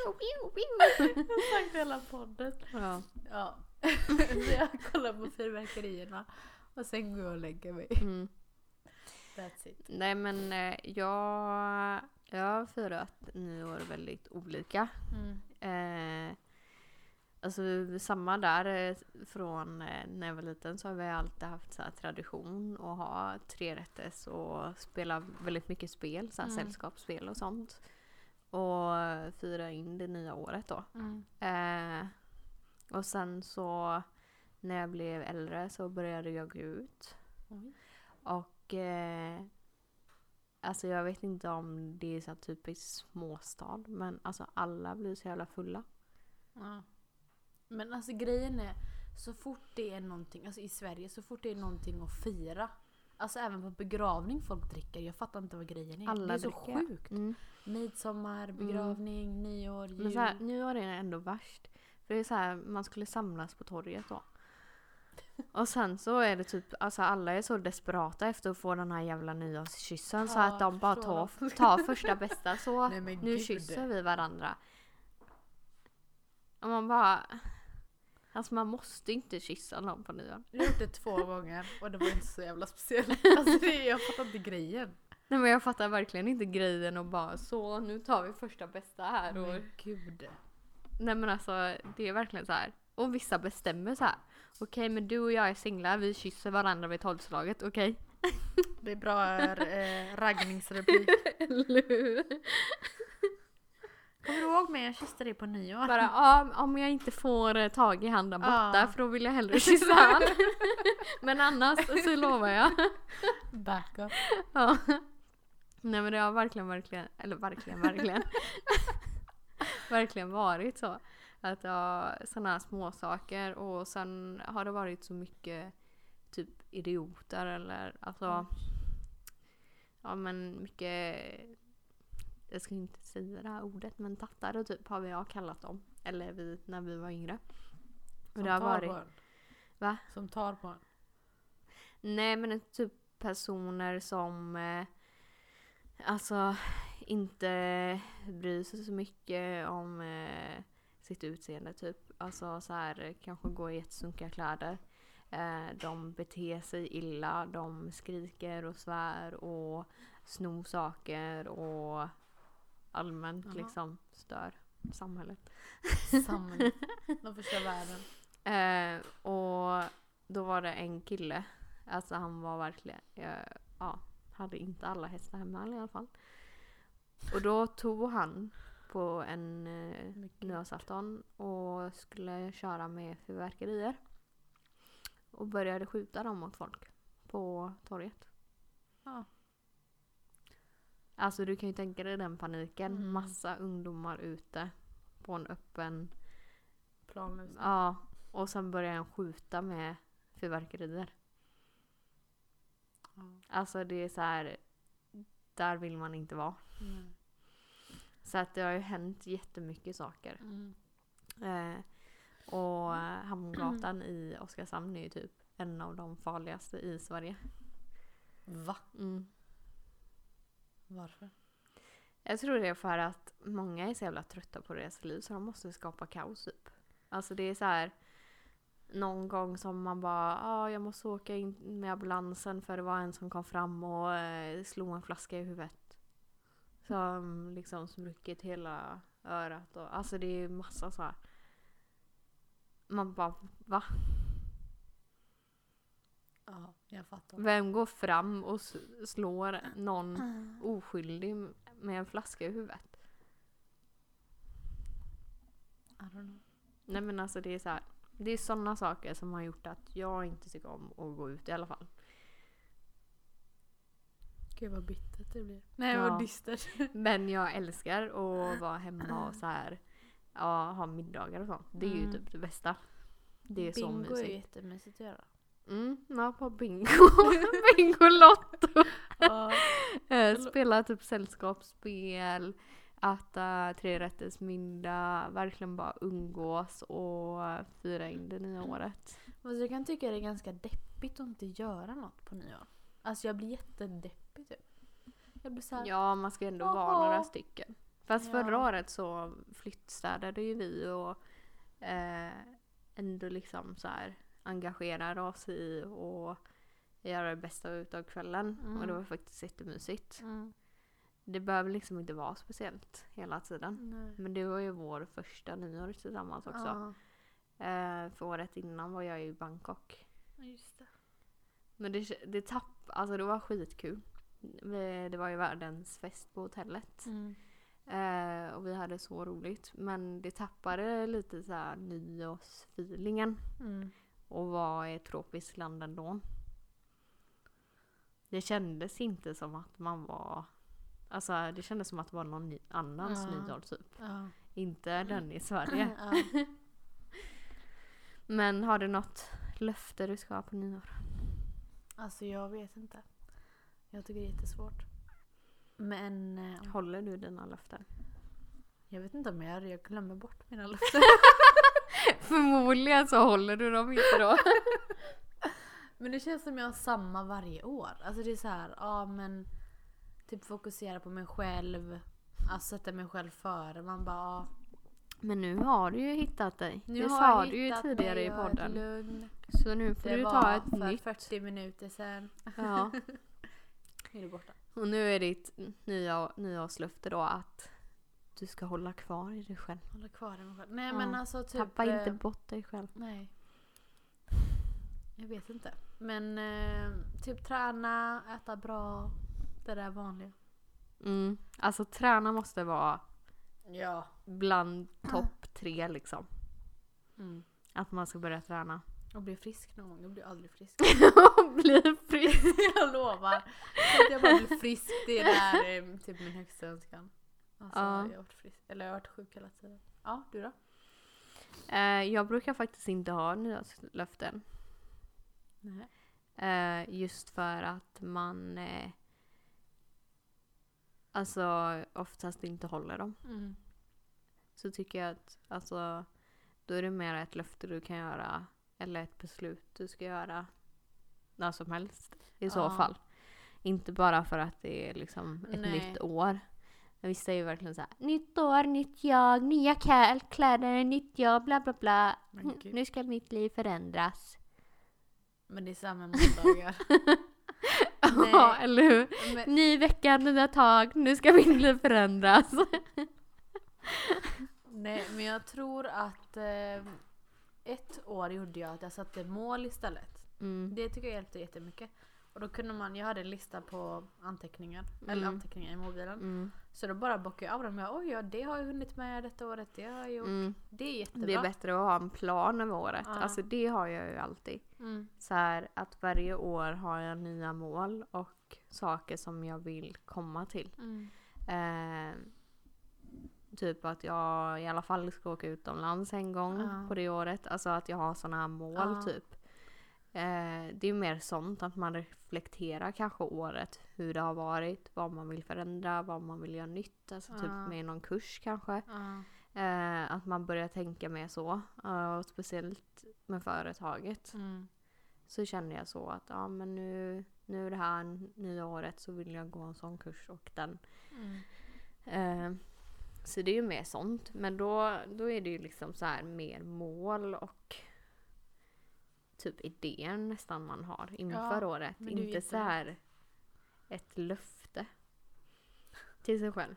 Jag har sagt hela podden.
Ja.
Ja. så jag kollar på fyrverkerierna och sen går jag och lägger mig.
Mm.
That's it.
Nej men eh, jag, jag har firat nyår väldigt olika.
Mm.
Eh, alltså samma där eh, från eh, när jag var liten så har vi alltid haft så här tradition att ha trerätters och spela väldigt mycket spel, så här
Mm.
sällskapsspel och sånt. Och fira in det nya året då.
Mm.
Eh, och sen så när jag blev äldre så började jag gå ut.
Oj.
Och eh, alltså jag vet inte om det är så här typiskt småstad men alltså alla blir så jävla fulla.
Ja. Men alltså grejen är, så fort det är någonting, alltså i Sverige, så fort det är någonting att fira. Alltså även på begravning folk dricker. Jag fattar inte vad grejen är.
Alla
det är så
dricker.
sjukt.
Mm.
Midsommar, begravning, nyår, jul.
Men så här, nu var det ändå värst. För det är så här, man skulle samlas på torget då. Och sen så är det typ, alltså alla är så desperata efter att få den här jävla nyårskyssen så
Ja,
att de
jag
bara
förstår
tar, tar första bästa så.
Nej, men
nu
gud.
kysser vi varandra. Och man bara... Alltså man måste inte kyssa någon på nyår.
Jag har gjort det två gånger och det var inte så jävla speciellt. Alltså det, jag fattar inte grejen.
Nej men jag fattar verkligen inte grejen och bara så nu tar vi första bästa här och
Men gud.
Nej men alltså det är verkligen så här. Och vissa bestämmer så här. Okej men du och jag är singlar, vi kysser varandra vid tolvslaget, okej?
Det är bra eh, raggningsreplik.
Eller hur?
Kommer du ihåg mig? Jag kysste dig på nyår.
Bara ja, om jag inte får eh, tag i han där borta
Ja.
för då vill jag hellre kyssa han. men annars så lovar jag.
Back up.
Ja. Nej men det har verkligen, verkligen, eller verkligen, verkligen. verkligen varit så. Att jag, sådana här småsaker och sen har det varit så mycket typ idioter eller alltså.
Mm.
Ja men mycket, jag ska inte säga det här ordet men tattare typ har jag kallat dem. Eller vi, när vi var yngre. Och
Som
det har
tar
varit-
på en.
Va?
Som tar på en.
Nej men det är typ personer som eh, alltså inte bryr sig så mycket om eh, sitt utseende typ. Alltså så här kanske går i jättesunkiga kläder. Eh, de beter sig illa, de skriker och svär och snor saker och allmänt
Jaha.
liksom stör samhället.
Samhället. De förstör världen.
Eh, och då var det en kille. Alltså han var verkligen, eh, ja, hade inte alla hästar hemma i alla fall. Och då tog han på en eh,
Men gud.
nyårsafton och skulle köra med fyrverkerier. Och började skjuta dem mot folk på torget.
Ja.
Alltså du kan ju tänka dig den paniken.
Mm.
Massa ungdomar ute på en öppen
Planlöst.
Ja, och sen började han skjuta med fyrverkerier.
Ja.
Alltså det är så här, där vill man inte vara.
Mm.
Så att det har ju hänt jättemycket saker.
Mm.
Eh, och Hamngatan i Oskarshamn är ju typ en av de farligaste i Sverige.
Va?
Mm.
Varför?
Jag tror det är för att många är så jävla trötta på deras liv så de måste skapa kaos upp. Alltså det är så här någon gång som man bara ah, jag måste åka in med ambulansen för det var en som kom fram och eh, slog en flaska i huvudet. Som liksom spruckit hela örat och alltså det är massa så här. Man bara va?
Ja, jag fattar.
Vem går fram och s- slår någon oskyldig med en flaska i huvudet?
I don't know.
Nej men alltså det är så här, Det är sådana saker som har gjort att jag inte tycker om att gå ut i alla fall.
Gud vad bittert det blir. Nej
Ja.
vad dystert.
Men jag älskar att vara hemma och så här, ja, ha middagar och sånt. Det är ju
Mm.
typ det bästa. Det är så
Bingo är ju
mysigt.
jättemysigt att göra.
Mm, ja, på bingo. Bingolotto.
Ja.
Eh, Spela typ sällskapsspel, äta trerättersmiddag, verkligen bara umgås och fira in det nya året.
Fast jag kan tycka det är ganska deppigt att inte göra något på nyår. Alltså jag blir jättedeppig typ. Jag blir såhär,
Ja, man ska ju ändå vara
Jaha.
några stycken. Fast
Ja.
förra året så flyttstädade ju vi och eh, ändå liksom så här engagerade oss i och göra det bästa utav kvällen.
Mm.
Och det var faktiskt jättemysigt.
mm,
Det behöver liksom inte vara speciellt hela tiden.
nej.
Men det var ju vår första nyår tillsammans också. Eh, för året innan var jag i Bangkok.
Ja, just det.
Men det, det tapp, alltså det var skitkul. Vi- Det var ju världens fest på hotellet.
Mm.
Eh, och vi hade så roligt. Men det tappade lite så här nyårsfeelingen.
Mm.
Och var i ett tropiskt land ändå. Det kändes inte som att man var... Alltså det kändes som att det var någon ny, annans
Ja. Mm.
nyår typ.
Ja.
Inte den i Sverige.
Ja.
Men har du något löfte du ska ha på nyår?
Alltså jag vet inte. Jag tycker det är jättesvårt. Men eh,
Håller du dina löften?
jag vet inte om jag gör det. Jag glömmer bort mina löften.
Förmodligen så håller du dem inte då.
Men det känns som jag har samma varje år. Alltså det är så här, ja men typ fokusera på mig själv. Alltså sätta mig själv före. Man bara, ja,
Men nu har du ju hittat dig.
nu
det
har
sa
jag
du ju
hittat
tidigare
mig,
i
jag är
podden.
Lugn.
Så nu får
Det
du
var
ta ett
för
nytt.
40 minuter sedan.
Ja.
är det borta.
Och nu är ditt nya, nyårslöfte då att du ska hålla kvar i dig själv.
Hålla kvar den själv. Nej
Ja.
men alltså typ.
Tappa inte
eh,
bort dig själv.
Nej. Jag vet inte. Men eh, typ träna, äta bra. Det där vanliga.
Mm. Alltså träna måste vara
Ja.
bland topp tre liksom.
Mm.
Att man ska börja träna.
Och bli frisk någon gång. Jag blir aldrig frisk.
Och bli frisk.
jag lovar. Att jag bara blir frisk. Det är där, eh, typ min högsta önskan. Alltså,
Ja.
jag har varit frisk. Eller jag har varit sjuk hela tiden. Ja, du då?
Eh, jag brukar faktiskt inte ha nyårslöften.
Nej.
Eh, just för att man eh, alltså oftast inte håller dem.
Mm.
Så tycker jag att alltså, då är det mer ett löfte du kan göra eller ett beslut du ska göra när som helst i så
Ja.
fall. Inte bara för att det är liksom ett
Nej.
nytt år. Men vissa är ju verkligen så här, nytt år, nytt jag, nya kläder, kläder, nytt jag, bla bla bla.
Men gud.
Nu ska mitt liv förändras.
Men det är samma måndagar.
Ja, eller hur?
Men,
Ny vecka, nya tag, nu ska mitt liv förändras.
nej, men jag tror att eh, ett år gjorde jag att jag satte mål istället.
Mm.
Det tycker jag hjälpte jättemycket. Och då kunde man, jag hade en lista på anteckningar, eller
Mm.
anteckningar i mobilen.
Mm.
Så då bara bockade jag av dem. Jag, Oj, ja, det har jag hunnit med detta året, det har jag gjort.
Mm.
Det är jättebra.
Det är bättre att ha en plan över året.
Ja.
Alltså det har jag ju alltid.
Mm.
Så här, att varje år har jag nya mål och saker som jag vill komma till.
Mm.
Eh, typ att jag i alla fall ska åka utomlands en gång
Ja.
på det året. Alltså att jag har sådana här mål
Ja.
typ. Eh, det är mer sånt att man reflekterar kanske året. Hur det har varit, vad man vill förändra, vad man vill göra nytt. Alltså typ
Ja.
med någon kurs kanske.
Ja.
Eh, att man börjar tänka mer så. Eh, och speciellt med företaget.
Mm.
Så kände jag så att ja, men nu, nu det här nya året så vill jag gå en sån kurs och den.
Mm.
Eh, så det är ju mer sånt. Men då, då är det ju liksom så här mer mål och typ idéer nästan man har inför
Ja,
året.
men det är ju
Inte så här ett löfte till sig själv.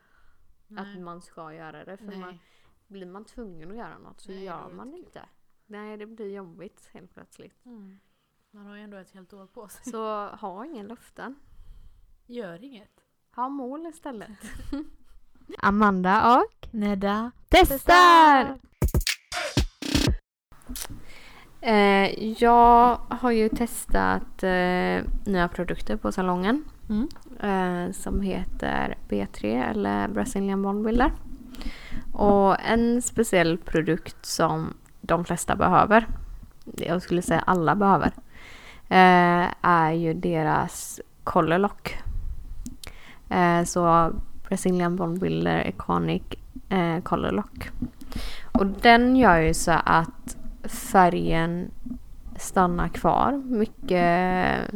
Att
Nej.
man ska göra det. För man,
Nej.
blir man tvungen att göra något så
Nej, det
gör
vore
man
inte kul.
inte. Nej, det blir jobbigt helt plötsligt.
Mm. Man har ju ändå ett helt år på sig.
Så ha inga löften.
Gör inget.
Ha mål istället. Amanda och
Nedda.
testar! Eh, jag har ju testat eh, nya produkter på salongen
Mm.
eh, som heter B3 eller Brazilian Bond Builder. Och en speciell produkt som de flesta behöver, jag skulle säga alla behöver, eh, är ju deras collarlock. Eh, så Brazilian Bond Builder Iconic eh, collarlock. Och den gör ju så att färgen stannar kvar mycket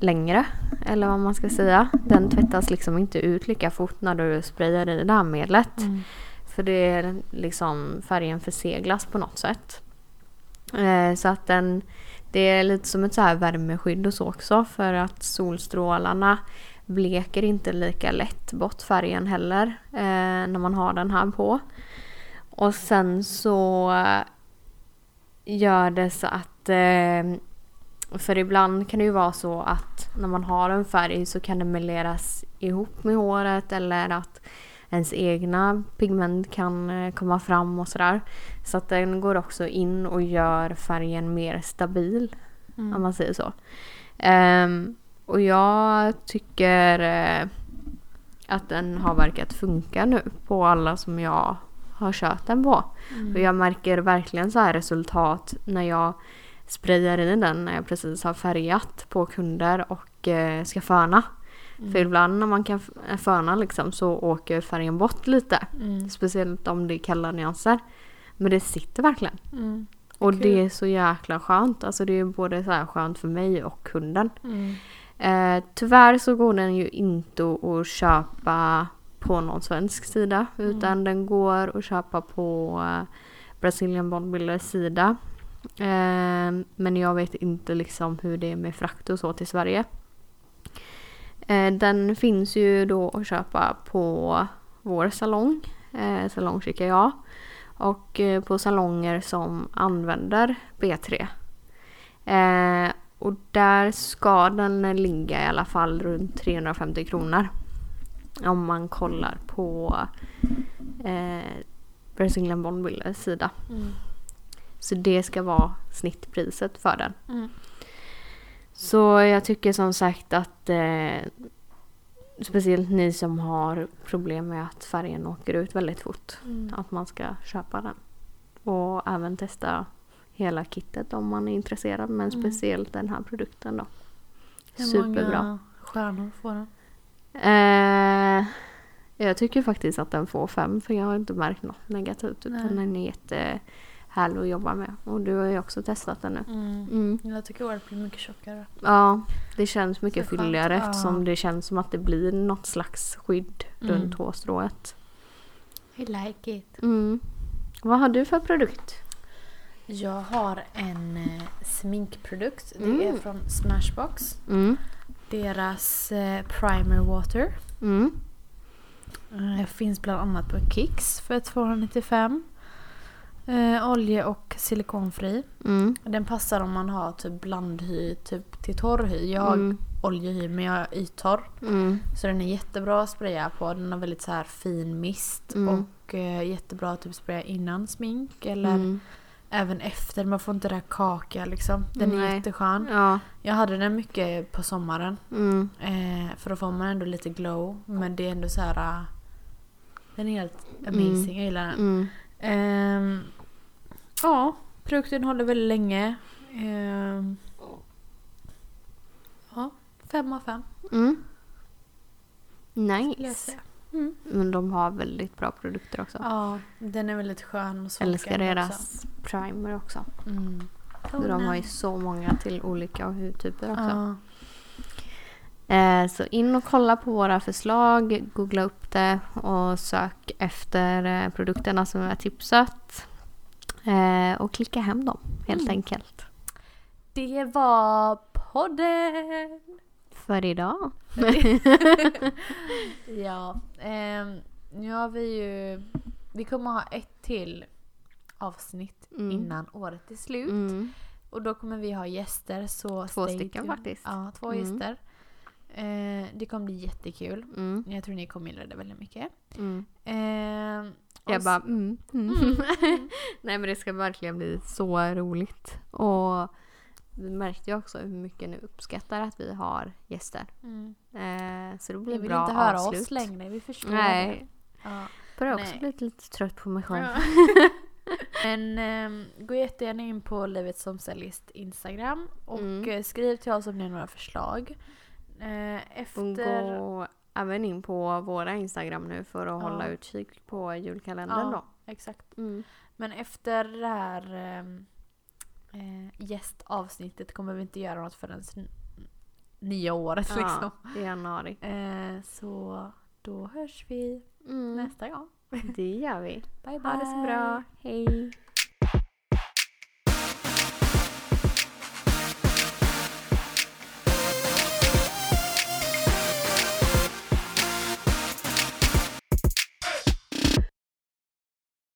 längre, eller vad man ska säga. Den tvättas liksom inte ut lika fort när du sprayar i det här medlet. För det är liksom färgen förseglas på något sätt. Eh, så att den, det är lite som ett så här värmeskydd och så också för att solstrålarna bleker inte lika lätt bort färgen heller eh, när man har den här på. Och sen så gör det så att eh, för ibland kan det ju vara så att när man har en färg så kan det meleras ihop med håret eller att ens egna pigment kan eh, komma fram och sådär. Så att den går också in och gör färgen mer stabil
Mm.
om man säger så. Ehm, och jag tycker eh, att den har verkat funka nu på alla som jag har kört den på.
Mm.
Och jag märker verkligen så här resultat när jag sprayar i den när jag precis har färgat på kunder och eh, ska föna.
Mm.
För ibland när man kan f- föna liksom så åker färgen bort lite.
Mm.
Speciellt om det är kalla nyanser. Men det sitter verkligen.
Mm.
Och
Kul.
det är så jäkla skönt. Alltså det är både så här skönt för mig och kunden.
Mm.
Eh, tyvärr så går den ju inte att köpa på någon svensk sida. Utan den går att köpa på eh, Brazilian Bond Builders sida. Eh, men jag vet inte liksom hur det är med frakt och så till Sverige. Eh, Den finns ju då att köpa på vår salong, eh, Salong Chicago. Och eh, på salonger som använder B3. Eh, Och där ska den ligga i alla fall runt 350 kronor. Om man kollar på eh, Brazilian Bondbillers sida.
Mm.
Så det ska vara snittpriset för den.
Mm.
Så jag tycker som sagt att eh, speciellt ni som har problem med att färgen åker ut väldigt fort.
Mm.
Att man ska köpa den. Och även testa hela kittet om man är intresserad. Men
Mm.
speciellt den här produkten då.
Hur
Superbra.
många stjärnor får den?
Eh, jag tycker faktiskt att den får fem för jag har inte märkt något negativt. Utan
Nej.
den är jättehärlig att jobba med. Och du har ju också testat den nu. Mm.
Jag tycker året blir mycket tjockare.
Ja, det känns mycket
Så skönt,
fylligare
ja.
eftersom det känns som att det blir något slags skydd
Mm.
runt hårstrået.
I like it.
Mm. Vad har du för produkt?
Jag har en eh, sminkprodukt. Det är
Mm.
från Smashbox.
Mm.
Deras eh, primer water.
Mm.
Eh, finns bland annat på Kicks för 295. Eh, olje och silikonfri.
Mm.
Den passar om man har typ blandhy typ till torr hy. Jag har
Mm.
oljehy men jag är yttorr.
Mm.
Så den är jättebra att spraya på. Den har väldigt så här fin mist.
Mm.
Och eh, jättebra att typ spraya innan smink. Eller
Mm.
även efter. Man får inte det här kaka liksom. Den är
Nej. Mm.
jätteskön.
Ja.
Jag hade den mycket på sommaren.
Mm.
Eh, för då får man ändå lite glow. Men det är ändå så här. ah, den är helt amazing. Jag gillar den.
Mm.
Ehm, ja, produkten håller väldigt länge. Ehm, ja, fem av fem
Mm.
skulle jag
Nice.
säga. Mm.
Men de har väldigt bra produkter också.
Ja, den är väldigt skön och
Älskar
solskärande
deras primer också.
också. Mm.
De har ju så många till olika hudtyper också.
Ja.
Eh, Så in och kolla på våra förslag, googla upp det och sök efter eh, produkterna som vi har tipsat. Eh, Och klicka hem dem helt
Mm.
enkelt.
Det var podden!
För idag.
ja, ehm, nu har vi ju... Vi kommer ha ett till avsnitt
Mm.
innan året är slut.
Mm.
Och då kommer vi ha gäster. Så
Två
stay
stycken
tuned.
faktiskt.
Ja, två
Mm.
gäster. Eh, det kommer bli jättekul.
Mm.
Jag tror ni kommer gilla det väldigt mycket.
Mm.
Eh, och
Jag
s-
bara mm. Mm.
Mm.
Nej men det ska verkligen bli så roligt. Och vi märkte ju också hur mycket ni uppskattar att vi har gäster.
Mm.
Eh, Så det
Ni
blir
vill
bra
inte höra
avslut.
oss längre, vi förstår
Nej,
det. Ja.
börjar också
Nej.
bli lite trött på mig själv.
Men ehm, gå jättegärna in på Livet som stylist Instagram och
Mm.
eh, skriv till oss om ni har några förslag. Eh,
Och
efter...
gå även in på våra Instagram nu för att
Ja.
hålla utkik på julkalendern
Ja, Exakt.
då. Mm.
Men efter det här ehm, eh, gästavsnittet kommer vi inte göra något förrän n- nya året
Ja.
liksom.
I januari.
Eh, så då hörs vi
Mm.
nästa gång.
Det gör vi.
Bye bye!
Ha det så bra. Hej.